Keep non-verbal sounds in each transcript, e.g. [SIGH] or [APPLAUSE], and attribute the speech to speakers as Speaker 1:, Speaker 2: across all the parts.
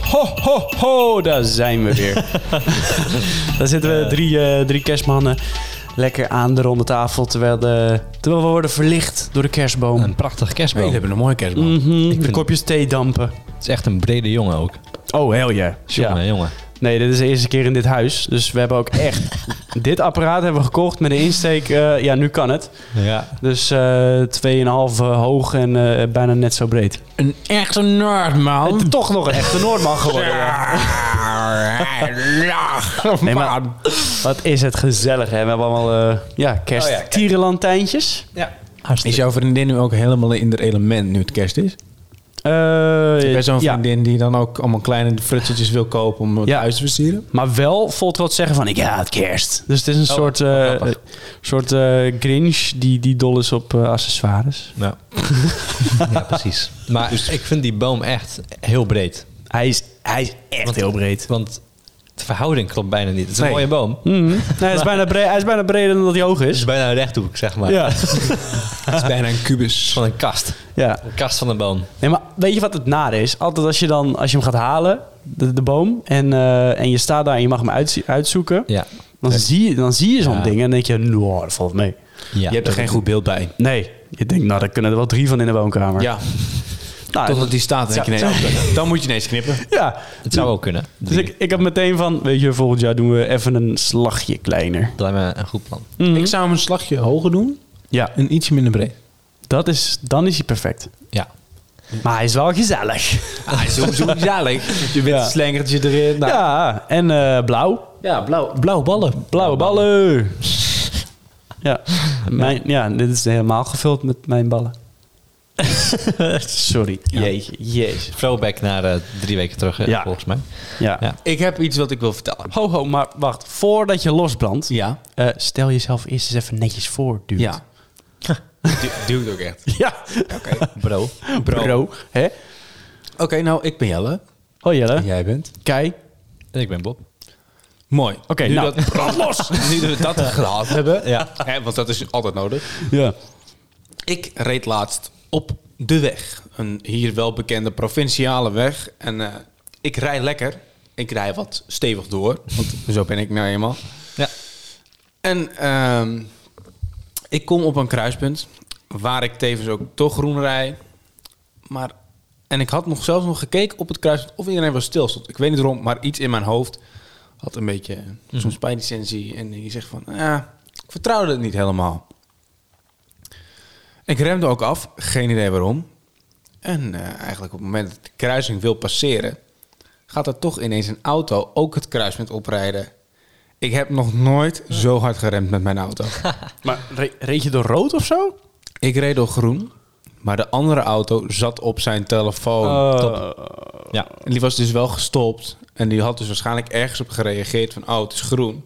Speaker 1: Ho, ho, ho, daar zijn we [LAUGHS] weer. daar zitten we drie, eh, drie kerstmannen lekker aan de ronde tafel, terwijl, de, terwijl we worden verlicht door de kerstboom.
Speaker 2: Een prachtig kerstboom.
Speaker 3: Jullie hebben een mooie kerstman.
Speaker 1: Mhm, de
Speaker 2: vind-
Speaker 1: kopjes thee dampen.
Speaker 2: Het is echt een brede jongen ook.
Speaker 1: Oh, hell yeah.
Speaker 2: Jongen,
Speaker 1: Ja.
Speaker 2: jongen.
Speaker 1: Nee, dit is de eerste keer in dit huis. Dus we hebben ook [LAUGHS] echt... dit apparaat hebben we gekocht met de insteek... eh, ja, nu kan het.
Speaker 2: Ja.
Speaker 1: Dus eh 2,5 hoog en eh, bijna net zo breed.
Speaker 3: Een echte nerd,
Speaker 1: Het is
Speaker 3: man.
Speaker 1: toch nog een echte Noordman geworden. ja.
Speaker 3: Ja,
Speaker 1: Nee, maar-
Speaker 3: man.
Speaker 1: Wat is het gezellig, hè? We hebben allemaal eh, ja, kersttierenlantijntjes.
Speaker 3: Is jouw vriendin nu ook helemaal in het element nu het kerst is?
Speaker 1: Eh,
Speaker 3: Ik ben zo'n
Speaker 1: ja.
Speaker 3: vriendin die dan ook allemaal kleine frutseltjes wil kopen om het
Speaker 1: Ja.
Speaker 3: huis te versieren.
Speaker 1: Maar wel vol trots zeggen van, ik haat kerst. Dus het is een soort, eh,
Speaker 2: grappig.
Speaker 1: eh, soort eh, Grinch die, die dol is op eh, accessoires.
Speaker 2: Nou. ja, precies. Maar
Speaker 3: Dus-
Speaker 2: ik vind die boom echt heel breed.
Speaker 1: Hij is, hij is echt heel breed.
Speaker 2: Want de verhouding klopt bijna niet. Het is een
Speaker 3: Nee.
Speaker 2: mooie boom.
Speaker 1: Mhm. Nee, hij, is bijna bre- hij is bijna breder dan dat hij hoog
Speaker 2: Het
Speaker 1: is.
Speaker 2: is bijna een rechthoek, zeg maar.
Speaker 1: Ja.
Speaker 3: Het is bijna een kubus.
Speaker 2: Van een kast.
Speaker 1: [LAUGHS] ja.
Speaker 2: Een kast van een boom.
Speaker 1: Nee, maar weet je wat het nare is? Altijd als je, dan, als je hem gaat halen, de, de boom, en, eh, en je staat daar en je mag hem uitzie- uitzoeken,
Speaker 2: Ja.
Speaker 1: dan, zie je, dan zie je zo'n
Speaker 2: Ja.
Speaker 1: ding en dan denk je, nou, dat valt mee.
Speaker 2: ja.
Speaker 3: je hebt er geen goed beeld bij.
Speaker 1: Nee, je denkt, nou, daar kunnen er wel drie van in de woonkamer.
Speaker 3: Ja,
Speaker 1: Nou,
Speaker 3: totdat die staat. Dan, denk je,
Speaker 1: Zou-
Speaker 3: nee, dan moet je ineens knippen.
Speaker 1: ja.
Speaker 2: Het zou ook kunnen.
Speaker 1: Dus ik, ik had meteen van, weet je, volgend jaar doen we even een slagje kleiner.
Speaker 2: Dat lijkt me een goed plan.
Speaker 3: Ik zou hem een slagje hoger doen
Speaker 1: Ja,
Speaker 3: en ietsje minder breed.
Speaker 1: dat is, dan is hij perfect.
Speaker 2: Ja.
Speaker 1: Maar hij is wel gezellig.
Speaker 3: Ah, sowieso gezellig. Je bent
Speaker 1: Ja.
Speaker 3: een slengertje erin. Nou,
Speaker 1: Ja, en eh, blauw.
Speaker 3: blauw, blauw ballen.
Speaker 1: Blauwe ballen. ja. Mijn, ja, dit is helemaal gevuld met mijn ballen. Sorry. Jeetje, jezus.
Speaker 2: Throwback naar eh, drie weken terug, hè,
Speaker 1: Ja.
Speaker 2: volgens mij.
Speaker 1: Ja.
Speaker 2: Ja.
Speaker 3: Ik heb iets wat ik wil vertellen.
Speaker 1: Ho, ho, maar wacht. Voordat je losbrandt,
Speaker 3: Ja.
Speaker 1: eh, stel jezelf eerst eens even netjes voor, dude.
Speaker 3: Ja. Duwt ook echt.
Speaker 1: [LAUGHS] Ja.
Speaker 2: [LAUGHS] Bro.
Speaker 1: Bro. Hè?
Speaker 3: Oké, nou, ik ben Jelle.
Speaker 1: Hoi Jelle.
Speaker 3: En jij bent?
Speaker 1: Kei.
Speaker 2: En ik ben Bob.
Speaker 3: Mooi. Oké,
Speaker 1: Oké,
Speaker 3: nu
Speaker 1: nou.
Speaker 3: [LAUGHS] dat los. Nu dat we dat gehad hebben,
Speaker 2: Ja.
Speaker 3: hè, want dat is altijd nodig.
Speaker 1: Ja.
Speaker 3: Ik reed laatst op de weg. Een hier wel bekende provinciale weg. En eh, ik rij lekker. Ik rij wat stevig door, want zo ben ik nou eenmaal.
Speaker 2: Ja.
Speaker 3: En ehm, ik kom op een kruispunt waar ik tevens ook toch groen rij. Maar, en ik had nog zelfs nog gekeken op het kruispunt of iedereen wel stil stond. Ik weet niet waarom, maar iets in mijn hoofd had een beetje zo'n spijtlicentie. En die zegt van, ja, ik vertrouwde het niet helemaal. Ik remde ook af, geen idee waarom. En eh, eigenlijk op het moment dat ik de kruising wil passeren, gaat er toch ineens een auto ook het kruispunt oprijden. Ik heb nog nooit zo hard geremd met mijn auto.
Speaker 1: Maar re- reed je door rood of zo?
Speaker 3: Ik reed door groen, maar de andere auto zat op zijn telefoon.
Speaker 1: Oh. Eh,
Speaker 2: Ja.
Speaker 3: En die was dus wel gestopt. En die had dus waarschijnlijk ergens op gereageerd van... oh, het is groen.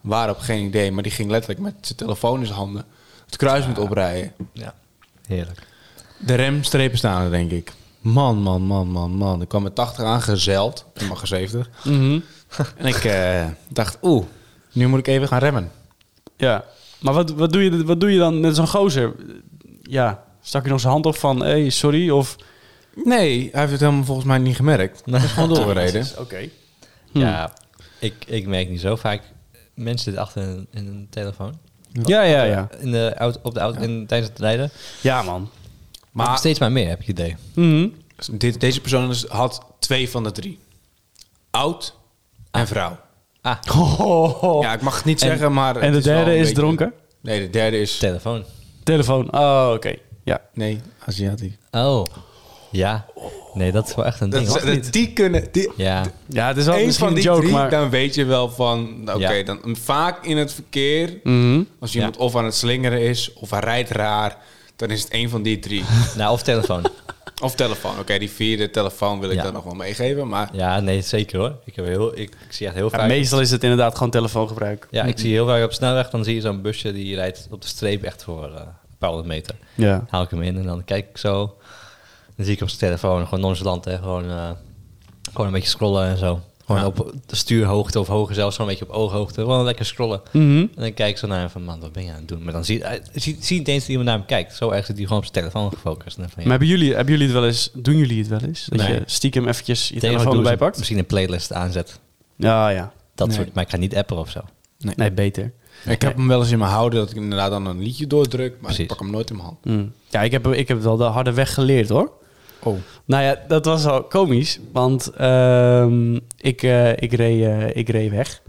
Speaker 3: Waarop geen idee. Maar die ging letterlijk met zijn telefoon in zijn handen... het kruispunt oprijden.
Speaker 2: Ja. Heerlijk.
Speaker 3: De remstrepen staan er, denk ik. Man, man, man, man, man. Ik kwam met 80 aan, gezeild. Ik mag er 70.
Speaker 1: mhm.
Speaker 3: En ik eh, dacht, oeh, nu moet ik even gaan remmen.
Speaker 1: Ja. Maar wat, wat, doe je, wat doe je dan met zo'n gozer? Ja, stak je nog zijn hand op van, hé, hey, sorry? Of...
Speaker 3: Nee, hij heeft het helemaal volgens mij niet gemerkt. Hij is
Speaker 1: [LAUGHS]
Speaker 3: gewoon doorgereden.
Speaker 1: Oké.
Speaker 2: Ja. Ik, ik merk niet zo vaak mensen zitten achter in, in een telefoon. Eh,
Speaker 1: Ja, ja, ja.
Speaker 2: In de auto, op de auto, in, tijdens het rijden.
Speaker 1: Ja, man.
Speaker 2: Maar
Speaker 3: Maar
Speaker 2: steeds maar meer, heb ik het idee.
Speaker 1: Mhm.
Speaker 3: dit, deze persoon is- had twee van de drie. Oud en vrouw.
Speaker 2: Ah,
Speaker 3: [LAUGHS] Ja, ik mag het niet zeggen, maar...
Speaker 1: En
Speaker 3: het
Speaker 1: de
Speaker 3: wel
Speaker 1: derde
Speaker 3: een
Speaker 1: is
Speaker 3: beetje-
Speaker 1: dronken?
Speaker 3: Nee, de derde is...
Speaker 2: telefoon.
Speaker 1: Telefoon. Oh, oké. Ja.
Speaker 3: Nee, Aziatisch.
Speaker 2: Oh. Ja. Nee, dat is wel echt een ding. hoor.
Speaker 3: die kunnen... Die,
Speaker 2: Ja.
Speaker 1: Ja, het is wel
Speaker 3: Eens
Speaker 1: misschien
Speaker 3: van die
Speaker 1: een joke,
Speaker 3: drie,
Speaker 1: maar...
Speaker 3: dan weet je wel van... Oké,
Speaker 2: Ja.
Speaker 3: dan vaak in het verkeer...
Speaker 1: Mhm.
Speaker 3: Als iemand of aan het slingeren is, of hij rijdt raar... dan is het een van die [LAUGHS] drie.
Speaker 2: Nou, of telefoon.
Speaker 3: of telefoon. Oké, die vierde telefoon wil ik
Speaker 2: Ja.
Speaker 3: dan nog wel meegeven, maar...
Speaker 2: Ja, nee, zeker hoor. Ik, heb heel, ik, ik zie echt heel
Speaker 1: Ja,
Speaker 2: vaak...
Speaker 1: meestal is het inderdaad gewoon telefoongebruik.
Speaker 2: Ja, ik zie heel vaak op de snelweg, dan zie je zo'n busje die rijdt op de streep echt voor eh, een paar honderd meter.
Speaker 1: Ja.
Speaker 2: haal ik hem in en dan kijk ik zo. Dan zie ik op zijn telefoon gewoon nonchalant, hè. Gewoon, eh, gewoon een beetje scrollen en zo. Gewoon op stuurhoogte of hoger zelfs, zo'n beetje op ooghoogte. Gewoon lekker scrollen.
Speaker 1: Mhm.
Speaker 2: En dan kijk ik zo naar hem van, man, wat ben je aan het doen? Maar dan zie hij zie, zie niet eens dat iemand naar hem kijkt. Zo erg zit hij gewoon op zijn telefoon gefocust. En dan van, ja,
Speaker 1: Maar hebben jullie, hebben jullie het wel eens, doen jullie het wel eens? Dat
Speaker 2: Nee.
Speaker 1: je stiekem eventjes je
Speaker 2: tegen
Speaker 1: telefoon
Speaker 2: doe
Speaker 1: erbij
Speaker 2: eens een-
Speaker 1: pakt?
Speaker 2: Misschien een playlist aanzet.
Speaker 1: Ja, ja.
Speaker 2: Dat
Speaker 3: Nee.
Speaker 2: soort, maar ik ga niet appen of zo.
Speaker 1: Nee, beter.
Speaker 3: Ik heb hem wel eens in mijn houden dat ik inderdaad dan een liedje doordruk, maar
Speaker 2: Precies.
Speaker 3: ik pak hem nooit in mijn hand.
Speaker 1: Mm. Ja, ik heb, ik heb wel de harde weg geleerd hoor.
Speaker 3: Oh.
Speaker 1: Nou ja, dat was al komisch, want ehm, ik, eh, ik, reed, eh, ik reed weg.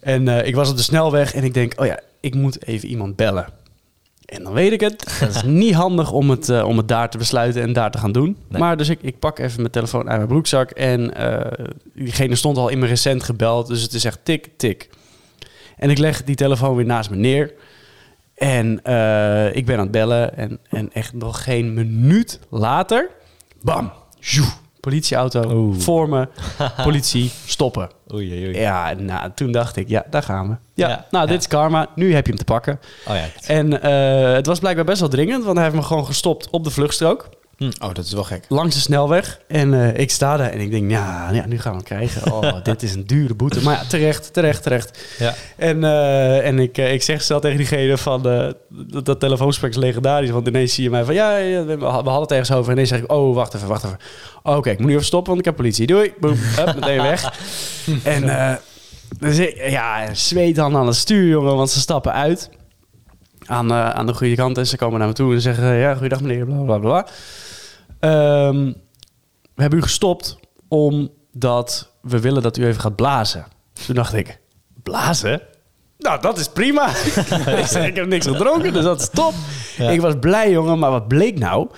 Speaker 1: En eh, ik was op de snelweg en ik denk, oh ja, ik moet even iemand bellen. En dan weet ik
Speaker 2: [LAUGHS]
Speaker 1: het. Het is niet handig om het, eh, om het daar te besluiten en daar te gaan doen.
Speaker 2: Nee.
Speaker 1: Maar dus ik, ik pak even mijn telefoon uit mijn broekzak. En eh, diegene stond al in mijn recent gebeld. Dus het is echt tik, tik. En ik leg die telefoon weer naast me neer. En eh, ik ben aan het bellen. En, en echt nog geen minuut later. Bam! Joe, politieauto
Speaker 2: Oeh.
Speaker 1: voor
Speaker 2: [LAUGHS]
Speaker 1: me. Politie, stoppen.
Speaker 2: Oei, oei, oei.
Speaker 1: Ja, nou, toen dacht ik, ja, daar gaan we. Ja,
Speaker 2: Ja,
Speaker 1: nou, dit
Speaker 2: ja.
Speaker 1: is karma. Nu heb je hem te pakken.
Speaker 2: Oh ja.
Speaker 1: En eh, het was blijkbaar best wel dringend, want hij heeft me gewoon gestopt op de vluchtstrook.
Speaker 3: oh, dat is wel gek.
Speaker 1: Langs de snelweg. En eh, ik sta daar en ik denk, ja, ja, nu gaan we hem krijgen. Oh, dit is een dure boete. Maar ja, terecht, terecht, terecht.
Speaker 2: ja.
Speaker 1: En, eh, en ik, eh, ik zeg snel tegen diegene van, eh, dat, dat telefoonsprek is legendarisch. Want ineens zie je mij van, ja, ja, we we hadden het ergens over. En ineens zeg ik, oh, wacht even, wacht even. Oh, Oké, ik moet nu even stoppen, want ik heb politie. Doei. Boem, hup, meteen weg. en eh, dus ik, ja, zweet dan aan het stuur, jongen, want ze stappen uit. Aan, eh, aan de goede kant en ze komen naar me toe en zeggen, eh, ja, goeiedag meneer, bla, bla, bla. Ehm, we hebben u gestopt omdat we willen dat u even gaat blazen. Toen dacht ik, blazen? Nou, dat is prima. [LAUGHS] ik, zei, ik heb niks gedronken, dus dat is top.
Speaker 2: Ja.
Speaker 1: Ik was blij, jongen. Maar wat bleek nou?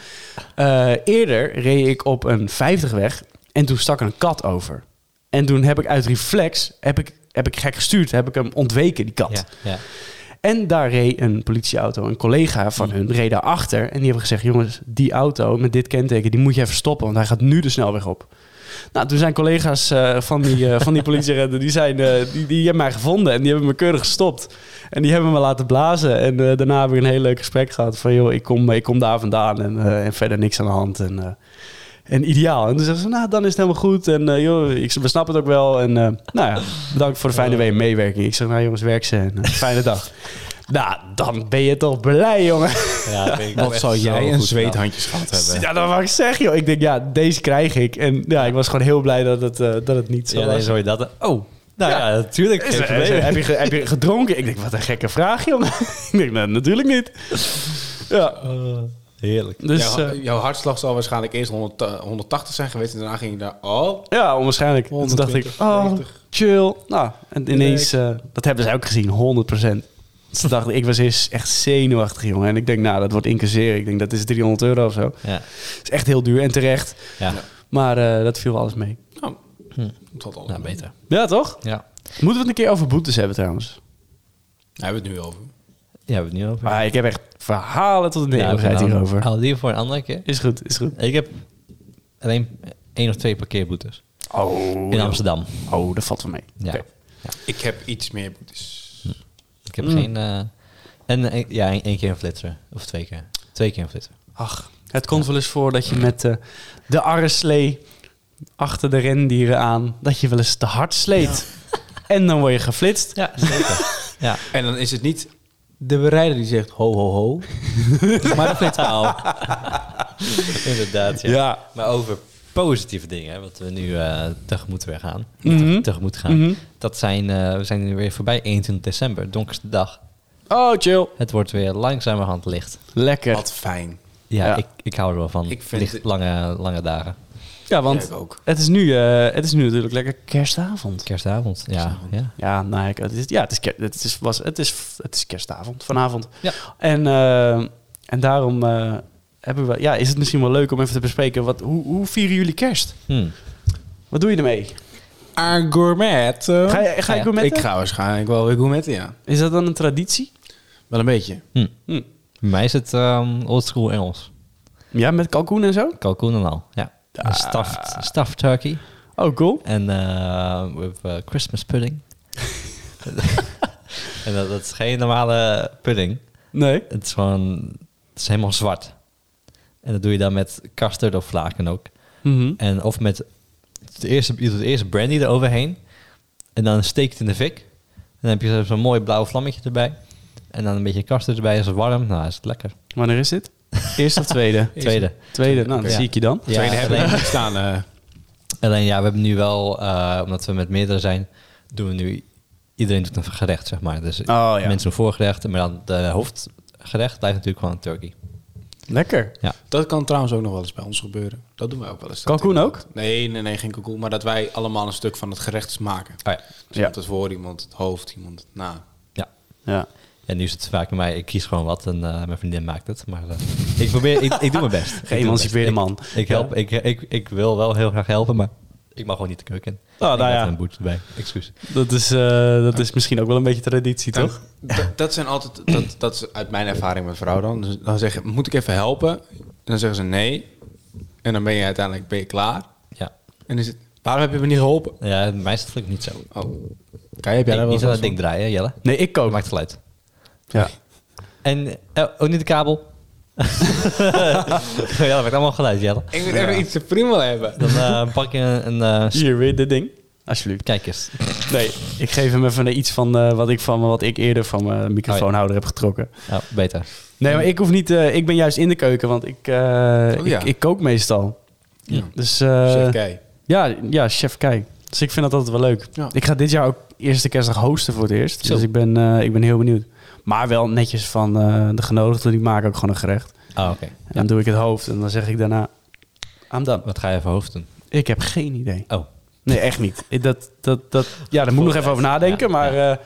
Speaker 1: Eh, eerder reed ik op een 50-weg en toen stak er een kat over. En toen heb ik uit reflex, heb ik, heb ik gek gestuurd, heb ik hem ontweken, die kat.
Speaker 2: Ja, ja.
Speaker 1: En daar reed een politieauto. Een collega van hun reed daarachter. En die hebben gezegd: jongens, die auto met dit kenteken, die moet je even stoppen. Want hij gaat nu de snelweg op. Nou, toen zijn collega's eh, van die, eh, van die politieagenten, die, zijn, eh, die, die hebben mij gevonden en die hebben me keurig gestopt. En die hebben me laten blazen. En eh, daarna heb ik een heel leuk gesprek gehad van, joh, ik kom, ik kom daar vandaan en, eh, en verder niks aan de hand. En, eh, en ideaal. En toen zeggen ze, nou, dan is het helemaal goed. En eh, joh, ik, we snappen het ook wel. En eh, nou ja, bedankt voor de fijne wee- meewerking. Ik zeg, nou jongens, werk ze en eh, fijne dag. nou, dan ben je toch blij, jongen.
Speaker 2: ja dat vind ik ook
Speaker 3: Wat
Speaker 2: echt
Speaker 3: zou
Speaker 2: zo
Speaker 3: jij een
Speaker 2: goed gedaan.
Speaker 3: zweethandjes gehad hebben?
Speaker 1: [LAUGHS] Ja, dat mag ik zeggen, joh. Ik denk, ja, deze krijg ik. En ja, ik was gewoon heel blij dat het, eh, dat het niet zo
Speaker 2: Ja,
Speaker 1: was.
Speaker 2: dan hoor je dat. Oh, nou ja, natuurlijk.
Speaker 1: Is
Speaker 2: geen
Speaker 1: er- is er-
Speaker 2: probleem.
Speaker 1: heb, je, ge- heb je gedronken? Ik denk, wat een gekke vraag, jongen. [LAUGHS] ik denk, nou, natuurlijk niet. Ja,
Speaker 2: Oh, heerlijk.
Speaker 1: dus
Speaker 3: jouw,
Speaker 1: eh,
Speaker 3: jouw hartslag zal waarschijnlijk eerst 100, eh, 180 zijn geweest en daarna ging je daar... Oh,
Speaker 1: ja, onwaarschijnlijk. Toen dacht ik,
Speaker 3: 120,
Speaker 1: oh,
Speaker 3: 90.
Speaker 1: chill. Nou, en ineens, eh, dat hebben ze ook gezien, 100%. Ze dachten, ik was eerst echt zenuwachtig, jongen. En ik denk, nou, dat wordt incasseren. Ik denk, dat is 300 euro of zo.
Speaker 2: Ja,
Speaker 1: Dat is echt heel duur en terecht.
Speaker 2: ja.
Speaker 1: Maar eh, dat viel alles mee.
Speaker 3: nou, het valt allemaal
Speaker 2: nou beter.
Speaker 1: Ja, toch?
Speaker 2: Ja.
Speaker 1: Moeten we het een keer over boetes hebben, trouwens?
Speaker 3: Daar hebben we het nu over.
Speaker 2: Ja, hebben we het nu over.
Speaker 1: Maar Ah, ik heb echt verhalen tot in de
Speaker 2: Ja, Ah, we
Speaker 1: eeuwigheid
Speaker 2: gaan
Speaker 1: hierover.
Speaker 2: Houden die voor een andere keer.
Speaker 1: Is goed, is goed.
Speaker 2: Ik heb alleen één of twee parkeerboetes.
Speaker 1: Oh,
Speaker 2: In Amsterdam.
Speaker 1: Oh, dat valt wel mee.
Speaker 2: Ja.
Speaker 1: Oké.
Speaker 3: Ik heb iets meer boetes.
Speaker 2: Ik heb
Speaker 1: Mm.
Speaker 2: geen... eh, en eh, ja, één, één keer een flitser. Of twee keer. Twee keer een flitser.
Speaker 1: Ach, het komt wel eens voor dat je met eh, de arreslee achter de rendieren aan, dat je wel eens te hard sleet. En dan word je geflitst.
Speaker 2: Ja, zeker. ja.
Speaker 3: En dan is het niet de bereider die zegt ho, ho,
Speaker 2: [LAUGHS]
Speaker 3: ho. maar de flitspaal.
Speaker 2: Inderdaad, ja.
Speaker 1: Ja.
Speaker 2: Maar over positieve dingen, hè, wat we nu eh, tegemoet weer gaan.
Speaker 1: Mhm.
Speaker 2: Tegemoet gaan.
Speaker 1: Mhm.
Speaker 2: Dat zijn, eh, we zijn nu weer voorbij 21 december, donkerste dag.
Speaker 1: Oh, chill.
Speaker 2: Het wordt weer langzamerhand licht.
Speaker 1: Lekker.
Speaker 3: Wat fijn.
Speaker 2: Ja,
Speaker 1: Ja.
Speaker 2: Ik, ik hou er wel van.
Speaker 3: Ik vind
Speaker 2: licht
Speaker 3: het-
Speaker 2: lange, lange dagen.
Speaker 1: Ja, want
Speaker 3: Ja, ik ook.
Speaker 1: het is, nu, eh, het is nu natuurlijk lekker kerstavond.
Speaker 2: Kerstavond. Ja, ja.
Speaker 1: Ja, nou, ik- het is, ja, het is, ker- het is, was, het is, het is kerstavond, vanavond.
Speaker 2: Ja.
Speaker 1: En, eh, en daarom eh, hebben we, ja, is het misschien wel leuk om even te bespreken, wat, hoe, hoe vieren jullie kerst?
Speaker 2: Hm.
Speaker 1: Wat doe je ermee?
Speaker 3: Aan gourmet. eh.
Speaker 1: Ga je, Oh. ga je
Speaker 2: Ja,
Speaker 1: gourmetten?
Speaker 3: Ik ga waarschijnlijk wel weer gourmetten, ja.
Speaker 1: Is dat dan een traditie?
Speaker 3: Wel een beetje.
Speaker 2: Hm.
Speaker 1: Hm.
Speaker 2: Bij mij is het ehm oldschool Engels.
Speaker 1: Ja, met kalkoen en zo?
Speaker 2: Kalkoen en al. Ja. Een stuffed, stuffed turkey.
Speaker 1: Oh, cool.
Speaker 2: En eh with eh, Christmas pudding. [LAUGHS] en dat, dat is geen normale pudding.
Speaker 1: Nee.
Speaker 2: Het is gewoon... Het is helemaal
Speaker 1: Mhm.
Speaker 2: zwart. En dat doe je dan met custard of vlaken ook. En of met het eerste, je doet eerst brandy eroverheen. En dan steek je het in de fik. En dan heb je zo- zo'n mooi blauw vlammetje erbij. En dan een beetje kasten erbij. Is het warm? Nou, is het lekker.
Speaker 1: Wanneer is dit? [LAUGHS] Eerste of [LAUGHS] tweede?
Speaker 2: Tweede.
Speaker 1: Tweede, nou, dat
Speaker 2: Ja.
Speaker 1: zie ik je dan.
Speaker 2: Ja,
Speaker 3: Tweede hebben we
Speaker 2: alleen,
Speaker 3: nog niet staan. eh.
Speaker 2: alleen ja, we hebben nu wel, eh, omdat we met meerdere zijn, doen we nu, iedereen doet een gerecht, zeg maar. Dus
Speaker 1: ja.
Speaker 2: mensen doen voorgerecht, maar dan de hoofdgerecht blijft natuurlijk gewoon turkey.
Speaker 1: Lekker.
Speaker 3: Dat kan trouwens ook nog wel eens bij ons gebeuren. Dat doen wij ook wel eens.
Speaker 1: Kalkoen
Speaker 3: Dat-
Speaker 1: ook?
Speaker 3: Nee, nee, nee, geen kalkoen. Maar dat wij allemaal een stuk van het gerecht maken.
Speaker 2: Oh ja.
Speaker 3: Dus
Speaker 1: Ja.
Speaker 3: iemand het voor, iemand het hoofd, iemand het na.
Speaker 2: ja.
Speaker 1: Ja.
Speaker 2: En nu is het vaak bij mij, ik kies gewoon wat en eh, mijn vriendin maakt het. Maar eh, ik probeer, ik, ik doe mijn
Speaker 1: [LAUGHS]
Speaker 2: best. Ik doe mijn
Speaker 1: Geëmancipeerde
Speaker 2: best.
Speaker 1: man.
Speaker 2: Ik, ik help, ik, ik, ik wil wel heel graag helpen, maar ik mag gewoon niet de keuken in.
Speaker 1: nou
Speaker 2: Ik laat
Speaker 1: ja.
Speaker 2: een boet bij, excuus.
Speaker 1: Dat is, eh, dat is misschien ook wel een beetje traditie,
Speaker 3: En
Speaker 1: toch?
Speaker 3: Nou, d- dat zijn altijd, dat, dat is uit mijn ervaring met vrouw dan. Dus dan zeggen, moet ik even helpen? En dan zeggen ze nee. En dan ben je uiteindelijk ben je klaar.
Speaker 2: Ja.
Speaker 3: En is het, waarom heb je me niet geholpen?
Speaker 2: ja, mij is het gelukkig niet zo.
Speaker 3: Oh, Kai, heb jij
Speaker 2: Ik- niet
Speaker 3: daar wel eens
Speaker 2: aan
Speaker 3: last
Speaker 2: dat
Speaker 3: van?
Speaker 2: ding draaien, Jelle.
Speaker 1: Nee, ik
Speaker 2: Oh,
Speaker 1: ook.
Speaker 2: maakt geluid.
Speaker 1: Ja.
Speaker 2: En eh, oh, niet de
Speaker 3: [LAUGHS]
Speaker 2: kabel. ja, dat maakt allemaal geluid, Jelle.
Speaker 3: Ik moet even iets te prima hebben.
Speaker 2: Dan eh, pak je een... een, eh, s-
Speaker 1: Hier, weer dit ding. Alsjeblieft.
Speaker 2: kijk eens.
Speaker 1: Nee, ik geef hem even iets van eh, wat, ik van wat ik eerder van mijn microfoonhouder heb getrokken.
Speaker 2: Oh, beter.
Speaker 1: Nee, maar ik hoef niet. eh, ik ben juist in de keuken, want ik, eh,
Speaker 3: ja.
Speaker 1: ik, ik kook meestal.
Speaker 3: Ja.
Speaker 1: Dus eh,
Speaker 3: Chef Kei.
Speaker 1: ja, ja, chef Kijk. Dus ik vind dat altijd wel leuk.
Speaker 3: Ja.
Speaker 1: Ik ga dit jaar ook eerste kerstdag hosten voor het eerst.
Speaker 2: Zo.
Speaker 1: Dus ik ben, eh, ik ben heel benieuwd. Maar wel netjes van eh, de genodigden, die maken ook gewoon een gerecht.
Speaker 2: Oh, oké.
Speaker 1: En dan doe ik het hoofd en dan zeg ik daarna... I'm done.
Speaker 2: Wat ga je even hoofd doen?
Speaker 1: Ik heb geen idee.
Speaker 2: Oh.
Speaker 1: Nee, echt niet. Ik- Eh, Dat, dat, dat, ja, daar moet ik nog even over nadenken.
Speaker 2: Ja,
Speaker 1: maar eh,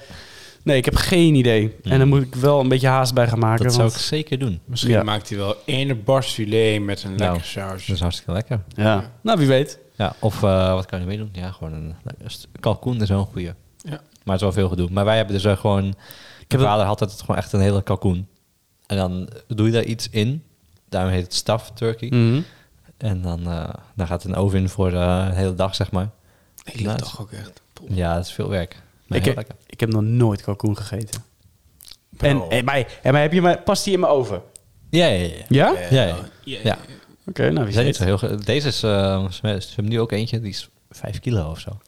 Speaker 1: nee, ik heb geen idee. En dan moet ik wel een beetje haast bij gaan maken.
Speaker 2: Dat zou ik
Speaker 1: want-
Speaker 2: zeker doen.
Speaker 3: Misschien
Speaker 1: Ja.
Speaker 3: maakt hij wel één barst filet met een
Speaker 2: Nou.
Speaker 3: lekker saus.
Speaker 2: Dat is hartstikke lekker.
Speaker 1: ja. Nou, wie weet.
Speaker 2: Ja, of eh, wat kan je mee doen? Ja, gewoon een, nou, een st- kalkoen is wel een goeie.
Speaker 3: Ja.
Speaker 2: Maar het is wel veel gedoe. Maar wij hebben dus eh, gewoon...
Speaker 1: heb
Speaker 2: mijn vader had het gewoon echt een hele kalkoen. En dan doe je daar iets in. Daarom heet het staff turkey.
Speaker 1: Mm. Mm-hmm.
Speaker 2: En dan, eh, dan gaat het een oven in voor eh, de hele dag, zeg maar.
Speaker 3: Ik liep
Speaker 2: Nice.
Speaker 3: toch ook echt.
Speaker 2: Ja, dat is veel werk. Maar
Speaker 1: Ik,
Speaker 2: heel
Speaker 1: heb-
Speaker 2: lekker.
Speaker 1: ik heb nog nooit kalkoen gegeten.
Speaker 3: Bro.
Speaker 1: En, en, maar, en maar heb je maar, past die in mijn oven?
Speaker 2: Ja, ja, ja.
Speaker 1: Ja?
Speaker 3: Eh,
Speaker 2: Ja, ja.
Speaker 3: ja,
Speaker 2: Ja.
Speaker 1: Oké, nou
Speaker 2: We
Speaker 1: wie
Speaker 2: zijn niet
Speaker 1: weet.
Speaker 2: zo heel ge- Deze is... eh, ze hebben nu ook eentje, die is 5 kilo of zo.
Speaker 3: Ik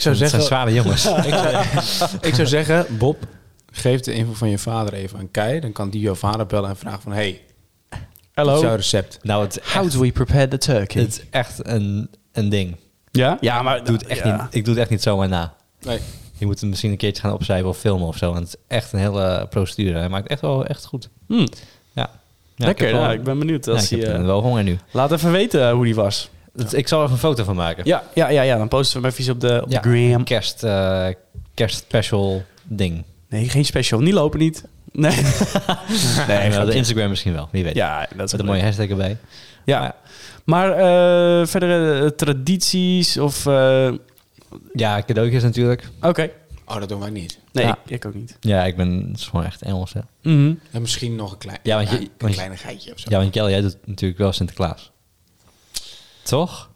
Speaker 2: Dat
Speaker 3: zou
Speaker 2: zijn
Speaker 3: zeggen,
Speaker 2: zware jongens.
Speaker 3: ik zou, ik zou zeggen, Bob, geef de info van je vader even aan Kei. Dan kan die jouw vader bellen en vragen van, hey, Hallo.
Speaker 1: Hallo.
Speaker 3: jouw recept?
Speaker 2: nou, het is echt,
Speaker 1: How do we prepare the turkey?
Speaker 2: het is echt een, een ding.
Speaker 1: ja? Ja, maar
Speaker 2: Ik doe, het echt
Speaker 1: ja.
Speaker 2: niet, ik doe het echt niet zomaar na.
Speaker 3: Nee.
Speaker 2: Je moet hem misschien een keertje gaan opschrijven of filmen of zo. Want het is echt een hele procedure. Hij maakt echt wel echt goed.
Speaker 1: Hmm.
Speaker 2: Ja. ja
Speaker 1: Lekker,
Speaker 2: heb
Speaker 1: nou,
Speaker 2: wel-
Speaker 1: ik ben benieuwd.
Speaker 2: ja,
Speaker 1: Als
Speaker 2: ik heb
Speaker 1: die, eh,
Speaker 2: eh, wel honger nu.
Speaker 1: Laat even weten hoe die was.
Speaker 2: Het- Ik zal er even een foto van maken.
Speaker 1: Ja, ja, ja, ja. dan posten we hem even iets op de, op
Speaker 2: Ja,
Speaker 1: de gram.
Speaker 2: Kerst, eh, kerstspecial ding.
Speaker 1: Nee, geen special. Niet lopen niet. [LAUGHS] Nee.
Speaker 2: Nee,
Speaker 1: grapje.
Speaker 2: de Instagram misschien wel. Wie weet.
Speaker 1: ja, dat is
Speaker 2: Met
Speaker 1: wel
Speaker 2: een mooie
Speaker 1: leuk.
Speaker 2: hashtag erbij.
Speaker 1: Ja. Maar eh verdere eh, tradities of... eh,
Speaker 2: Ja, cadeautjes natuurlijk.
Speaker 1: Oké.
Speaker 3: Oh, dat doen wij niet.
Speaker 1: Nee,
Speaker 2: Ja.
Speaker 1: ik, ik ook niet.
Speaker 2: Ja, ik ben het is gewoon echt Engels. Hè.
Speaker 1: Mhm.
Speaker 3: En misschien nog een klein,
Speaker 2: Ja, want je-
Speaker 3: een
Speaker 2: want je-
Speaker 3: kleine geitje of zo.
Speaker 2: Ja, want Jelle, jij doet natuurlijk wel Sinterklaas. Toch?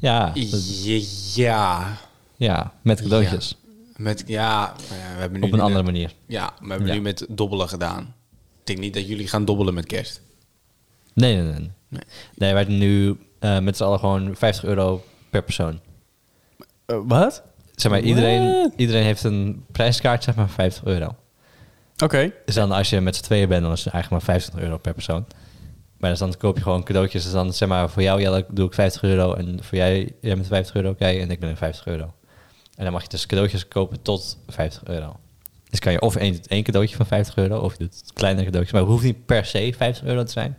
Speaker 2: Ja. dat-
Speaker 3: Je- ja.
Speaker 2: ja, met cadeautjes.
Speaker 3: Met, ja, maar ja, we hebben nu
Speaker 2: Op een
Speaker 3: niet
Speaker 2: andere
Speaker 3: met-
Speaker 2: manier.
Speaker 3: Ja, we hebben
Speaker 2: Ja.
Speaker 3: nu met dobbelen gedaan. Ik denk niet dat jullie gaan dobbelen met kerst.
Speaker 2: Nee, nee, nee.
Speaker 3: Nee.
Speaker 2: Nee, wij doen nu eh, met z'n allen gewoon 50 euro per persoon.
Speaker 1: Eh, Wat?
Speaker 2: Zeg maar, iedereen, iedereen heeft een prijskaart, zeg maar 50 euro.
Speaker 1: Oké.
Speaker 2: Dus dan als je met z'n tweeën bent, dan is het eigenlijk maar 50 euro per persoon. Maar dus dan koop je gewoon cadeautjes. Dus dan zeg maar, voor jou Jelle, doe ik 50 euro. En voor jij, jij met 50 euro, oké. en ik ben 50 euro. En dan mag je dus cadeautjes kopen tot 50 euro. Dus kan je of één, één cadeautje van 50 euro, of je doet kleine cadeautjes. Maar het hoeft niet per se 50 euro te zijn.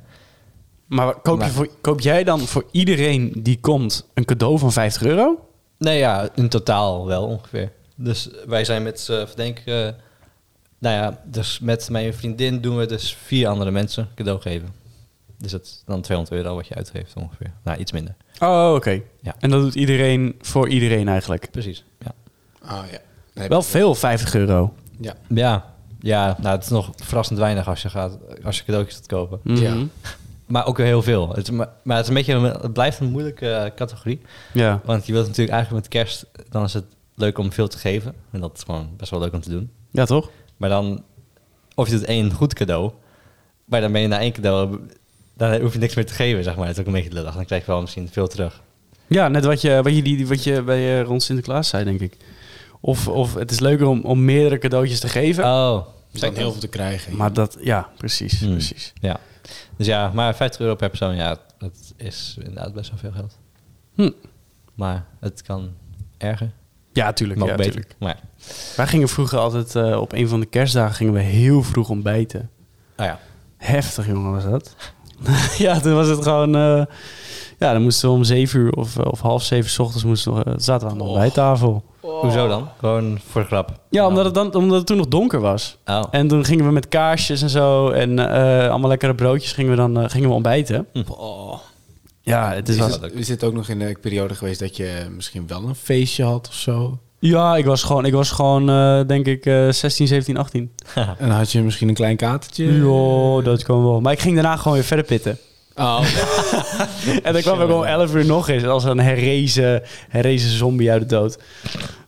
Speaker 1: Maar koop,
Speaker 2: Maar-
Speaker 1: Je voor, koop jij dan voor iedereen die komt een cadeau van 50 euro?
Speaker 2: Nee, ja, in totaal wel ongeveer. Dus wij zijn met, eh denk ik, eh, nou ja, dus met mijn vriendin doen we dus vier andere mensen cadeau geven. Dus dat is dan 200 euro wat je uitgeeft ongeveer. Nou, iets minder.
Speaker 1: Oh, oké.
Speaker 2: Ja.
Speaker 1: En dat doet iedereen voor iedereen eigenlijk.
Speaker 2: Precies. Ja,
Speaker 3: Oh ja. Nee,
Speaker 1: Wel veel 50 euro.
Speaker 3: Ja.
Speaker 2: ja, ja nou, het is nog verrassend weinig als je, gaat, als je cadeautjes gaat kopen.
Speaker 1: Mhm.
Speaker 3: Ja.
Speaker 2: Maar ook weer heel veel. Het, is maar, maar het, is een beetje, een- het blijft een moeilijke eh, categorie.
Speaker 1: Ja.
Speaker 2: Want je wilt natuurlijk eigenlijk met kerst, dan is het leuk om veel te geven. En dat is gewoon best wel leuk om te doen.
Speaker 1: Ja, toch?
Speaker 2: Maar dan, of je doet één goed cadeau, maar dan ben je na één cadeau, dan hoef je niks meer te geven, zeg maar. Dat is ook een beetje lullig. Dan krijg je wel misschien veel terug.
Speaker 1: Ja, net wat je, wat je, die, wat je bij eh, rond Sinterklaas zei, denk ik. Of, of het is leuker om, om meerdere cadeautjes te geven.
Speaker 2: Oh,
Speaker 3: Er zijn heel veel te krijgen.
Speaker 1: maar dat, ja, precies.
Speaker 2: Hmm.
Speaker 1: precies.
Speaker 2: ja. Dus ja, maar 50 euro per persoon, ja, dat is inderdaad best wel veel geld.
Speaker 1: Hm.
Speaker 2: Maar het kan erger,
Speaker 1: Ja, tuurlijk.
Speaker 2: nog
Speaker 1: ja,
Speaker 2: beter.
Speaker 1: tuurlijk.
Speaker 2: Maar
Speaker 1: Wij gingen vroeger altijd, eh, op een van de kerstdagen gingen we heel vroeg ontbijten.
Speaker 2: oh ja,
Speaker 1: Heftig, jongen, was dat. [LAUGHS] ja, toen was het gewoon... eh, ja, dan moesten we om zeven uur of, of half zeven 's ochtends moesten we, eh, zaten we aan de
Speaker 3: Och.
Speaker 1: ontbijttafel.
Speaker 2: hoezo dan? Gewoon voor de grap.
Speaker 1: Ja, omdat het, dan, omdat het toen nog donker was.
Speaker 2: Oh.
Speaker 1: En toen gingen we met kaarsjes en zo en eh, allemaal lekkere broodjes gingen we dan eh, gingen we ontbijten.
Speaker 3: Oh.
Speaker 1: Ja, het
Speaker 3: Is,
Speaker 1: is
Speaker 2: wel-
Speaker 3: het, is dit ook nog in de periode geweest dat je misschien wel een feestje had of zo?
Speaker 1: Ja, ik was gewoon, ik was gewoon eh, denk ik eh 16, 17, 18.
Speaker 2: Oh.
Speaker 3: En dan had je misschien een klein katertje?
Speaker 1: Ja, dat kan oh, wel. Maar ik ging daarna gewoon weer verder [LAUGHS] pitten.
Speaker 3: Oh,
Speaker 1: En dan kwam ik om 11 uur nog eens als een herrezen, herrezen zombie uit de dood.